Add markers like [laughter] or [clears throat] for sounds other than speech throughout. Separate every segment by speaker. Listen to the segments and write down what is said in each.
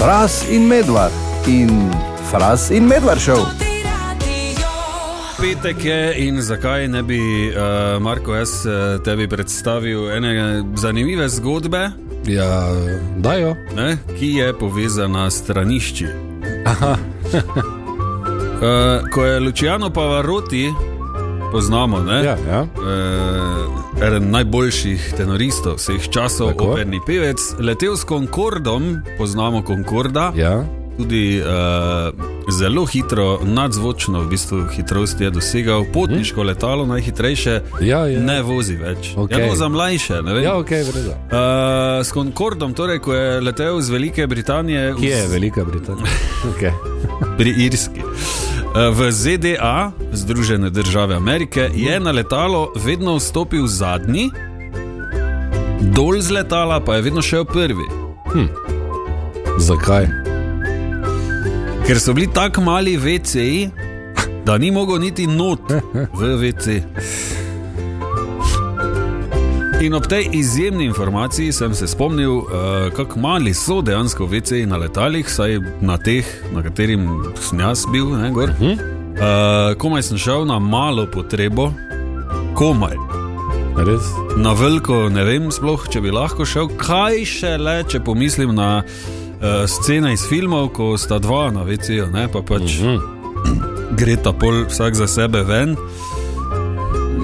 Speaker 1: Fras in medvard in Fras in medvard šel.
Speaker 2: Petek je in zakaj ne bi, uh, Marko, jaz eh, tebi predstavil ene zanimive zgodbe,
Speaker 3: Ja, dajo.
Speaker 2: ne, ki je povezana s stranišči. [laughs] uh, ko je Luciano Pavaroti, poznamo, ne?
Speaker 3: Ja, ja.
Speaker 2: eh, eden najboljših tenoristov vseh časov,
Speaker 3: Tako.
Speaker 2: operni pevec, letel s Concordom, poznamo Concorda,
Speaker 3: ja.
Speaker 2: tudi eh, zelo hitro, nadzvočno, v bistvu hitrost je dosegal, potniško letalo, najhitrejše,
Speaker 3: Ja, ja.
Speaker 2: ne vozi več.
Speaker 3: Okej.
Speaker 2: Je bilo za mlajše, ne vem.
Speaker 3: Ja, ok, vredno.
Speaker 2: Eh, s Concordom, torej, ko je letel iz Velike Britanije,
Speaker 3: Kje je
Speaker 2: v-
Speaker 3: Velika Britanija? [laughs] Okay.
Speaker 2: pri Irski. Eh, V ZDA, Združene države Amerike, je na letalo vedno vstopil zadnji, dol z letala pa je vedno šel prvi.
Speaker 3: Zakaj?
Speaker 2: Ker so bili tako mali VCI, da ni mogel niti not v VCI. In ob tej izjemni informaciji sem se spomnil, uh, kako mali so dejansko VCI na letalih, saj na teh, na katerim sem jaz bil, ne gor. Uh, komaj sem šel na malo potrebo, komaj.
Speaker 3: Res?
Speaker 2: Na veliko ne vem, sploh če bi lahko šel, kaj še le, če pomislim na uh, scene iz filmov, ko sta dva na večju, ne pa pač uh -huh. gre ta pol vsak za sebe ven.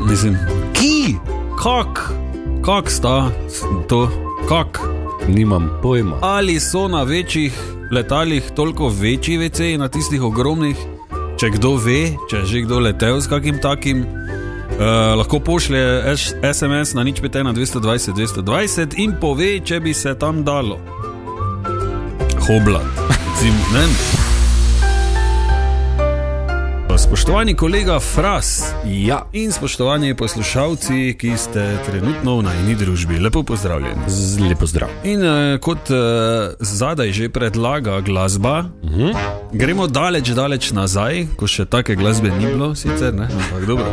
Speaker 2: Mislim, ki, kak, kak sta s- to, kak.
Speaker 3: Nimam pojma.
Speaker 2: Ali so na večjih letalih toliko večji večji, na tistih ogromnih, če kdo ve, če je že kdo letel s kakim takim. Uh, lahko pošlje eš- SMS na nič 5 na 220 220 in pove, če bi se tam dalo. Hobla, zim, ne. vem. Spoštovani kolega Fras
Speaker 3: Ja.
Speaker 2: in spoštovani poslušalci, ki ste trenutno v najni družbi, lepo pozdravljeni.
Speaker 3: Z- Lepo zdrav.
Speaker 2: In uh, kot uh, zadaj že predlaga glasba, uh -huh. gremo daleč, daleč nazaj, ko še take glasbe ni bilo, sicer ne, ampak dobro.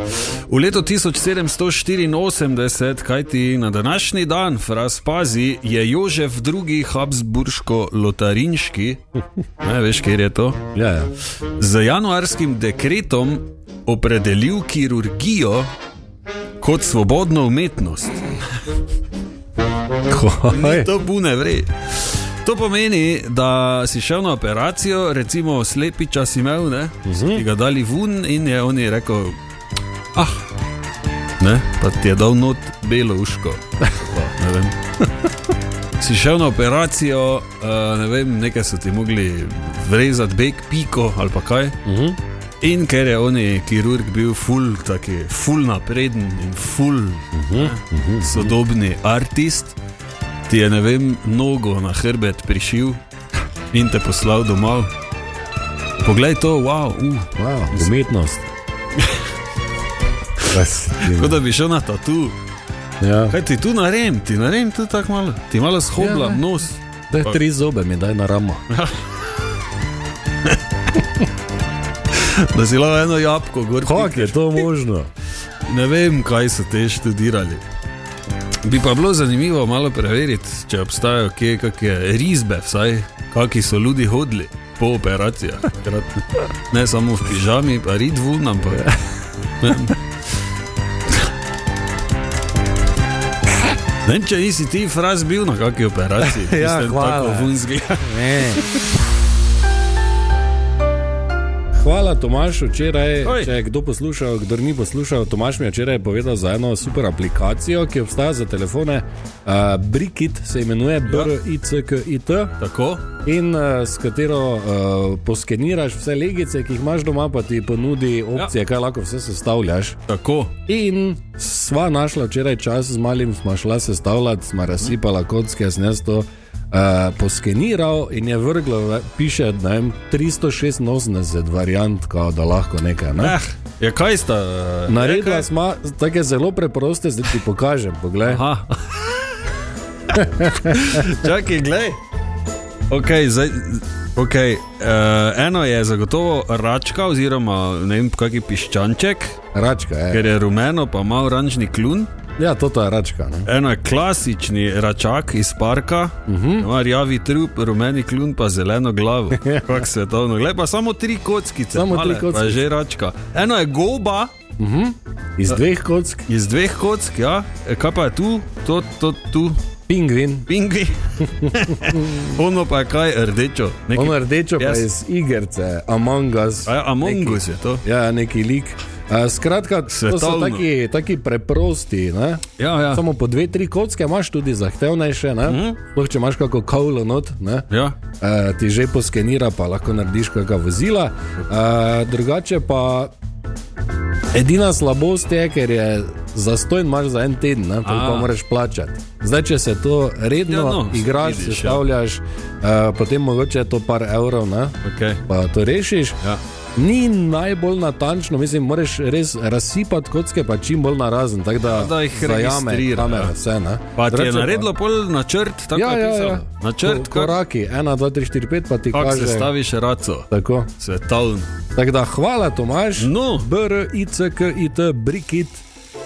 Speaker 2: V letu 1784, kajti na današnji dan, fraz pazi, je Jožef II. Habsburško-Lotarinški, ne veš, kje je to,
Speaker 3: Ja, ja.
Speaker 2: z januarskim dekretom opredelil kirurgijo kot svobodno umetnost.
Speaker 3: Kaj?
Speaker 2: To bune vre. To pomeni, da si šel na operacijo, recimo slepiča si imel, ne, ti ga dali ven in je on je rekel, ah, ne, pa ti je dal not belo uško. Pa, ne vem. [laughs] Si šel na operacijo, eh, ne vem, nekaj so ti mogli vrezati, beg, piko ali pa kaj.
Speaker 3: Mhm.
Speaker 2: In ker je on kirurg bil ful, taki ful napreden in ful ne, sodobni umetnik, ti je ne vem, nogo na hrbet prišil in te poslal domov. Poglej to, wow, uh.
Speaker 3: Wow, [laughs] umetnost. Res.
Speaker 2: kot da bi šel na tatu.
Speaker 3: Ja.
Speaker 2: Kaj ti tu naredim, ti naredim tu tako malo, ti malo
Speaker 3: Ja,
Speaker 2: shobla
Speaker 3: ne.
Speaker 2: nos.
Speaker 3: Daj tri zobe mi daj na [laughs] ramo.
Speaker 2: Da si lahko eno jabko gor.
Speaker 3: Kako je to možno?
Speaker 2: Ne vem, kaj so te študirali. Bi pa bilo zanimivo malo preveriti, če obstajajo kje kakšne risbe, vsaj kaki so ljudje hodili po operacijah. Takrat. Ne samo v pižami, pa ridvu nam pa. Ne, vem, če nisi ti fraz bil na kakšni operaciji,
Speaker 3: [laughs] Ja,
Speaker 2: Mislim,
Speaker 3: hvala.
Speaker 2: tako vunski.
Speaker 3: Ne. Hvala Tomašu včeraj.
Speaker 2: Oj.
Speaker 3: Oj. Če je kdo poslušal, kdo ni poslušal, Tomaš mi je včeraj povedal za eno super aplikacijo, ki obstaja za telefone. Uh, Brikit se imenuje BRICKIT
Speaker 2: Tako?
Speaker 3: in uh, s katero uh, poskeniraš vse legice, ki jih imaš doma, pa ti ponudi opcije, ja. kaj lahko vse sestavljaš.
Speaker 2: Tako.
Speaker 3: In sva našla včeraj čas z malim, smo šla sestavljati, smo razsipala kocke, snes to uh, poskeniral in je vrglo, ve- piše, ne vem, 386 variant, kao, da lahko nekaj. Ne?
Speaker 2: Eh, ja, kaj sta? eh,
Speaker 3: Naredila
Speaker 2: rekla?
Speaker 3: smo tako zelo preproste, zdaj ti pokažem, poglej.
Speaker 2: Aha. [laughs] Čakaj, glej. Okay, zdaj, okay, uh, eno je zagotovo račka, oziroma ne vem, kaki piščanček,
Speaker 3: Račka je.
Speaker 2: ker je rumeno, pa ima oranžni kljun.
Speaker 3: Ja, to je račka. Ne?
Speaker 2: Eno je klasični račak iz parka, uh
Speaker 3: Mhm.
Speaker 2: -huh. ima rjavi trup, rumeni kljun, pa zeleno
Speaker 3: [laughs]
Speaker 2: glavo. Kako svetovno, gled pa samo tri kockice,
Speaker 3: Ja. Samo tri
Speaker 2: male, pa
Speaker 3: kockice.
Speaker 2: je že račka. Eno je goba
Speaker 3: Iz
Speaker 2: Eh.
Speaker 3: dveh kock,
Speaker 2: iz dveh kock, ja. E, kaj pa je tu, to, to, tu,
Speaker 3: pingvin,
Speaker 2: pingvi. ono pa je kaj rdečo, nekaj.
Speaker 3: ono rdečo, yes. pa
Speaker 2: Jaz-
Speaker 3: iz igrice, Among Us.
Speaker 2: A ja, Among
Speaker 3: neki-
Speaker 2: Us je to.
Speaker 3: Ja, neki lik. Uh, skratka, to so
Speaker 2: Svetovno.
Speaker 3: taki, taki preprosti. Ne?
Speaker 2: Ja, ja.
Speaker 3: Samo po dve, tri kocke imaš tudi zahtevnejše. ne. Sploh če imaš kako kaulo not, ne?
Speaker 2: ja.
Speaker 3: uh, ti že poskenira, pa lahko narediš kakšna vozila. Uh, drugače pa. Edina slabost je, ker je zastojen imaš za en teden, ne, pol pa
Speaker 2: A.
Speaker 3: moraš plačati. Zdaj, če se to redno
Speaker 2: Ja, no,
Speaker 3: igraš,
Speaker 2: vidiš, ja.
Speaker 3: sestavljaš, uh, potem mogoče je to par evrov, ne,
Speaker 2: Okay.
Speaker 3: pa to rešiš.
Speaker 2: ja.
Speaker 3: Ni najbolj natančno, mislim, moraš res razsipati kocke, pa čim bolj narazen, tako da,
Speaker 2: Ja, Da jih
Speaker 3: zajame
Speaker 2: registrira,
Speaker 3: kamera,
Speaker 2: ja.
Speaker 3: vse. Ne?
Speaker 2: Pa ti je
Speaker 3: Drugače
Speaker 2: naredilo pol načrt, tako
Speaker 3: ja,
Speaker 2: je
Speaker 3: ja,
Speaker 2: pisalo.
Speaker 3: ja.
Speaker 2: Načrt,
Speaker 3: Ko,
Speaker 2: kako
Speaker 3: koraki, 1, 2, 3, 4, 5, pa ti
Speaker 2: kak se
Speaker 3: kaže.
Speaker 2: staviš raco.
Speaker 3: Tako.
Speaker 2: Svetovno.
Speaker 3: tako da hvala, Tomaš.
Speaker 2: No,
Speaker 3: BRICKIT, Brikit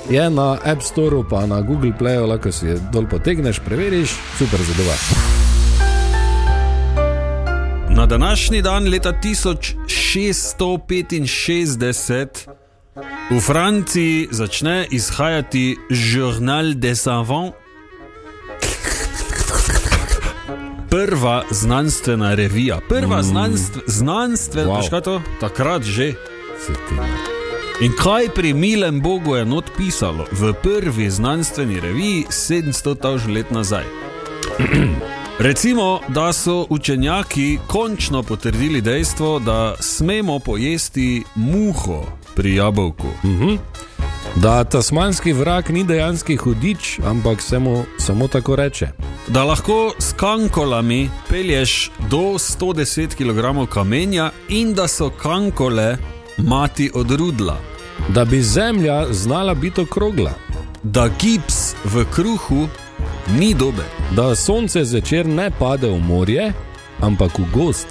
Speaker 3: je na App Storeu, pa na Google Playu, lahko si jo dol potegneš, preveriš, super zadeva.
Speaker 2: na današnji dan, leta 1665, v Franciji začne izhajati Journal des Savants, prva znanstvena revija. Prva mm. znanstv, znanstvena,
Speaker 3: Wow.
Speaker 2: wow. kaj to? Takrat že.
Speaker 3: Se ti ne.
Speaker 2: In kaj pri milem Bogu je not pisalo v prvi znanstveni reviji 700 tavž let nazaj? [clears throat] Recimo, da so učenjaki končno potrdili dejstvo, da smemo pojesti muho pri jabolku.
Speaker 3: Da tasmanski vrak ni dejanski hudič, ampak se mu samo tako reče.
Speaker 2: Da lahko s kankolami pelješ do 110 kg kamenja in da so kankole mati od rudla.
Speaker 3: Da bi zemlja znala biti okrogla,
Speaker 2: Da gips v kruhu ni dober.
Speaker 3: da sonce zvečer ne pade v morje, ampak v gost.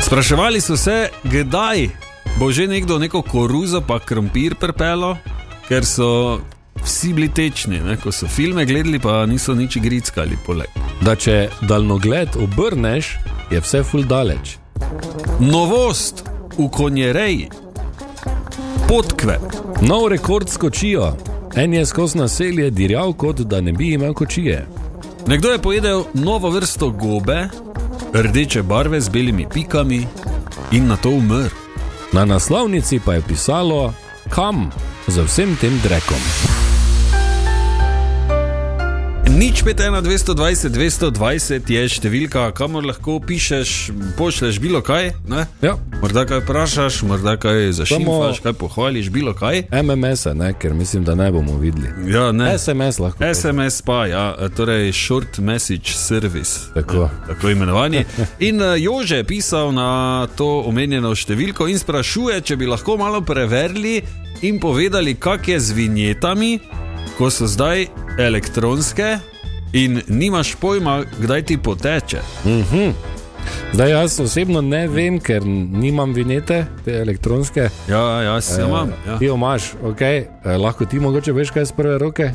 Speaker 2: Spraševali so se, kdaj bo že nekdo neko koruzo pa krompir prepelo, ker so vsi bili tečni, ne? ko so filme gledali, pa niso nič grickali poleg.
Speaker 3: Da če daljnogled obrneš, je vse ful daleč.
Speaker 2: Novost v konjereji, podkve,
Speaker 3: Nov rekord skočijo. En je skozi naselje dirjal, kot da ne bi imel kočije.
Speaker 2: nekdo je pojedel novo vrsto gobe, rdeče barve z belimi pikami in na to umrl.
Speaker 3: Na naslovnici pa je pisalo, kam za vsem tem drekom.
Speaker 2: Nič 51220, 220 je številka, kamor lahko pišeš, pošleš bilo kaj. Ne?
Speaker 3: Ja.
Speaker 2: Morda kaj vprašaš, morda kaj zašimfaš,
Speaker 3: Samo-
Speaker 2: kaj pohvališ, bilo kaj.
Speaker 3: MMS, -e, ne, ker mislim, da ne bomo videli.
Speaker 2: Ja, ne.
Speaker 3: SMS lahko.
Speaker 2: SMS pa, ja, torej short message service.
Speaker 3: Tako.
Speaker 2: Tako imenovani. In eh, Jože je pisal na to omenjeno številko in sprašuje, če bi lahko malo preverili in povedali, kak je z vinjetami, ko so zdaj elektronske in nimaš pojma, kdaj ti poteče.
Speaker 3: Zdaj jaz osebno ne vem, ker nimam vinete, te elektronske.
Speaker 2: Ja, ja, se imam. Ja.
Speaker 3: Ti jo imaš, okay. eh, lahko ti mogoče veš kaj iz prve roke.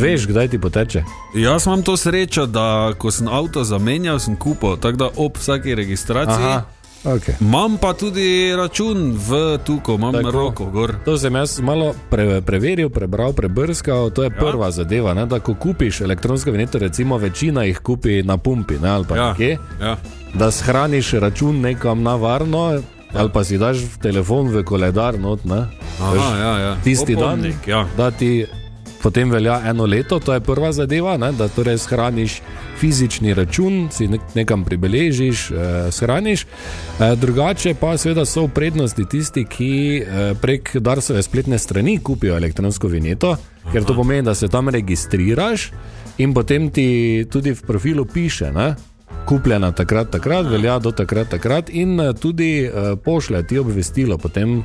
Speaker 3: Veš, kdaj ti poteče.
Speaker 2: Jaz imam to srečo, da ko sem avto zamenjal, sem kupil, tako da ob vsaki registraciji. Aha.
Speaker 3: Okay.
Speaker 2: Imam pa tudi račun v tuko, imam
Speaker 3: Tako.
Speaker 2: tako. roko gor.
Speaker 3: To sem jaz malo pre, preveril, prebral, prebrskal. To je ja. prva zadeva. Ne, da ko kupiš elektronske vinete, recimo večina jih kupi na pumpi ne, ali pa ja.
Speaker 2: Ja,
Speaker 3: kje,
Speaker 2: ja.
Speaker 3: da shraniš račun nekam na varno, ali pa si daš v telefon v koledar. Not, ne, Veš,
Speaker 2: Aha, ja, ja.
Speaker 3: tisti dan,
Speaker 2: Opomnik, ja.
Speaker 3: da ti potem velja eno leto, to je prva zadeva, ne, da torej shraniš fizični račun, si nek, nekam pribeležiš, eh, shraniš. Eh, drugače pa seveda so v prednosti tisti, ki eh, prek Darsove spletne strani kupijo elektronsko vinjeto, ker to pomeni, da se tam registriraš in potem ti tudi v profilu piše. Ne, Kupljena takrat, takrat, velja do takrat, takrat, in eh, tudi eh, pošlje ti obvestilo, potem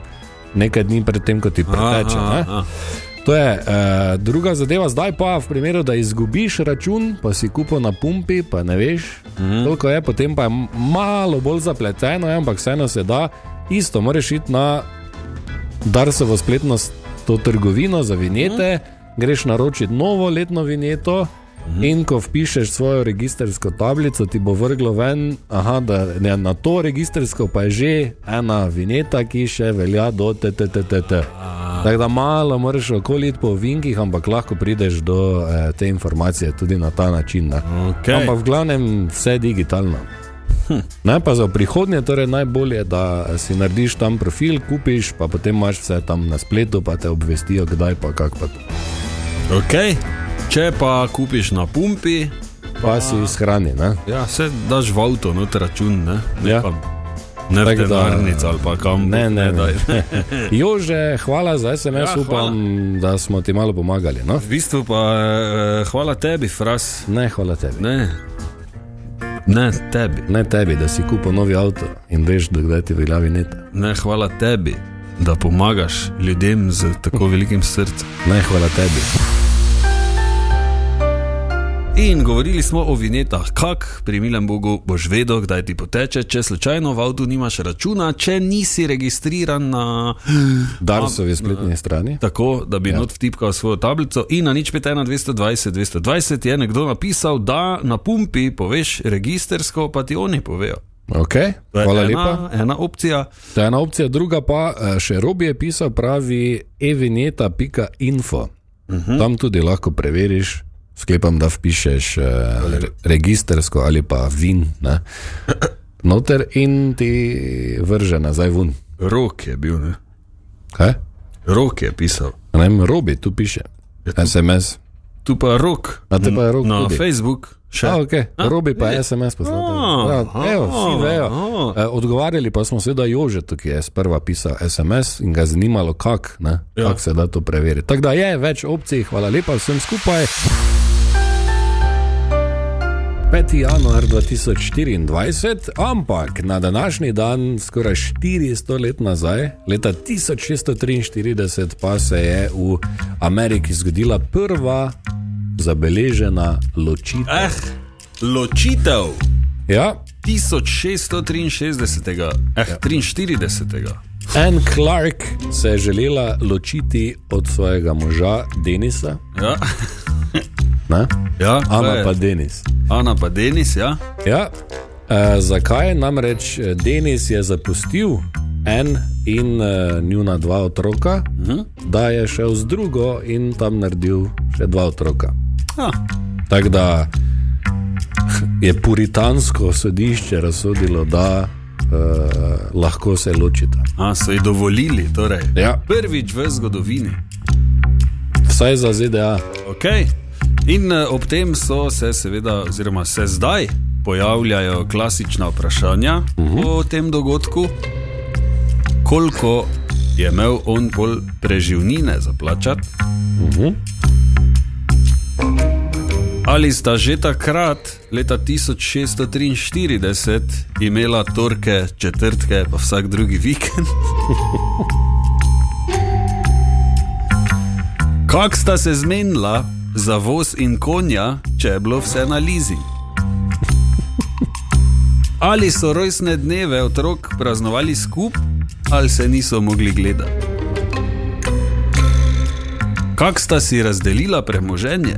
Speaker 3: nekaj dni predtem, ko ti preteče.
Speaker 2: Aha,
Speaker 3: ne.
Speaker 2: aha.
Speaker 3: To je eh, druga zadeva, zdaj pa v primeru, da izgubiš račun, pa si kupo na pumpi, pa ne veš, mm. koliko je, potem pa je malo bolj ja, zapleteno, je, ampak vseeno se da, isto moraš iti na Darsovo spletno s- to trgovino za vinjete, greš naročiti novo letno vinjeto. In ko vpišeš svojo registrsko tablico, ti bo vrglo ven, aha, da ne, na to registrsko pa je že ena vinjeta, ki še velja do TTTT. Tako da malo moraš okoliti po vinkih, ampak lahko prideš do eh, te informacije tudi na ta način. Ne?
Speaker 2: Okay.
Speaker 3: Ampak v glavnem vse digitalno.
Speaker 2: Hm.
Speaker 3: Ne, pa za prihodnje torej najbolje, da si narediš tam profil, kupiš, pa potem imaš vse tam na spletu, pa te obvestijo, kdaj pa kak pa.
Speaker 2: Okay. Če pa kupiš na pumpi,
Speaker 3: Pa si izhrani, ne?
Speaker 2: ja, se daš v avto, noter račun. Ne, ne,
Speaker 3: Ja.
Speaker 2: pa, ne v
Speaker 3: Tako da-
Speaker 2: denarnici ali pa kam.
Speaker 3: Ne, ne,
Speaker 2: daj.
Speaker 3: ne. [laughs] Jože, hvala za SMS,
Speaker 2: Ja,
Speaker 3: ja, upam, da smo ti malo pomagali. No?
Speaker 2: V bistvu pa eh, hvala tebi, fras.
Speaker 3: Ne, hvala tebi.
Speaker 2: Ne, ne tebi.
Speaker 3: Ne tebi, da si kupil novi avto in veš, dokdaj ti velja vinjeta.
Speaker 2: Ne, hvala tebi, da pomagaš ljudem z tako velikim srcem.
Speaker 3: Ne, hvala tebi.
Speaker 2: In govorili smo o vinetah, kak pri milem Bogu boš vedel, kdaj ti poteče, če slučajno v avtu nimaš računa, če nisi registriran na
Speaker 3: Darsovi spletni strani.
Speaker 2: tako, da bi ja. not vtipkal svojo tablico. In na nič 5, 220, 220 je nekdo napisal, da na pumpi poveš registersko, pa ti oni povejo.
Speaker 3: Okay,
Speaker 2: To je
Speaker 3: hvala
Speaker 2: ena,
Speaker 3: lepa.
Speaker 2: Ena opcija.
Speaker 3: To je ena opcija, druga pa eh, še Robi je pisal, pravi evineta.info. Uh -huh. Tam tudi lahko preveriš, sklepam, da vpišeš eh, re, registersko ali pa vin. Ne? Noter in ti vrže nazaj ven.
Speaker 2: Rok je bil, ne?
Speaker 3: Kaj?
Speaker 2: Rok je pisal.
Speaker 3: Ne vem, Robi tu piše. SMS.
Speaker 2: Tu pa rok.
Speaker 3: A te pa je rok
Speaker 2: Na
Speaker 3: tudi.
Speaker 2: Facebook še.
Speaker 3: A, okay. Robi pa je SMS poslal.
Speaker 2: A,
Speaker 3: Prav, Evo, vsi vejo.
Speaker 2: a.
Speaker 3: Eh, Odgovarjali pa smo seveda Jožetu, ki je sprva pisal SMS in ga je zanimalo, kako
Speaker 2: Ja.
Speaker 3: ja. kak se da to preveriti. Tako da je več opcij, hvala lepa vsem skupaj. 5. januar 2024, ampak na današnji dan, skoraj 400 let nazaj, leta 1643, pa se je v Ameriki zgodila prva zabeležena ločitev.
Speaker 2: Eh, ločitev
Speaker 3: Ja,
Speaker 2: 1663, eh, ja. 43.
Speaker 3: Anne Clark se je želela ločiti od svojega moža Denisa,
Speaker 2: Ja,
Speaker 3: ne?
Speaker 2: ja to
Speaker 3: Ana
Speaker 2: je-
Speaker 3: pa Denis.
Speaker 2: Ana pa Denis, ja.
Speaker 3: Ja. E, zakaj? Namreč eh, Denis je zapustil en in e, njuna dva otroka,
Speaker 2: Mhm.
Speaker 3: da je šel z drugo in tam naredil še dva otroka.
Speaker 2: ja.
Speaker 3: Tako da je puritansko sodišče razsodilo, da e, lahko se ločita.
Speaker 2: A, so ji dovolili, torej.
Speaker 3: Ja,
Speaker 2: Prvič v zgodovini.
Speaker 3: vsaj za ZDA.
Speaker 2: Okay. In eh, ob tem so se, seveda, oziroma se zdaj pojavljajo klasična vprašanja uh -huh. o tem dogodku, koliko je imel on pol preživnine za plačati.
Speaker 3: Uh -huh.
Speaker 2: Ali sta že takrat, leta 1643, imela torke, četrtke, pa vsak drugi vikend? Kak sta se zmenila za voz in konja, če je bilo vse na lizi? Ali so rojstne dneve otrok praznovali skupaj, ali se niso mogli gledati? Kak sta si razdelila premoženje?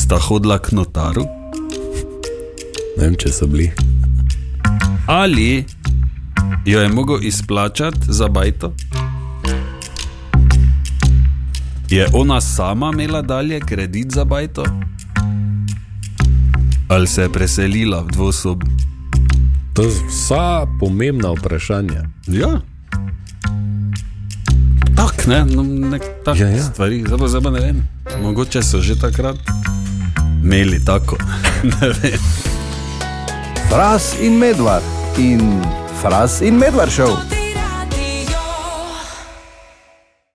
Speaker 2: Sta hodila k notaru?
Speaker 3: Ne vem, če so bili.
Speaker 2: ali jo je mogel izplačati za bajto? Je ona sama imela dalje kredit za bajto? Ali se je preselila v dvosob?
Speaker 3: To so vsa pomembna vprašanja.
Speaker 2: Ja. Tak, ne, no, nek, tak ja,
Speaker 3: Ja,
Speaker 2: ja.
Speaker 3: ja.
Speaker 2: stvari, zdaj pa- zdaj pa ne vem. Mogoče so že takrat imeli tako. [laughs] ne vem.
Speaker 1: Fras in Medvard in Fras in Medvard šel.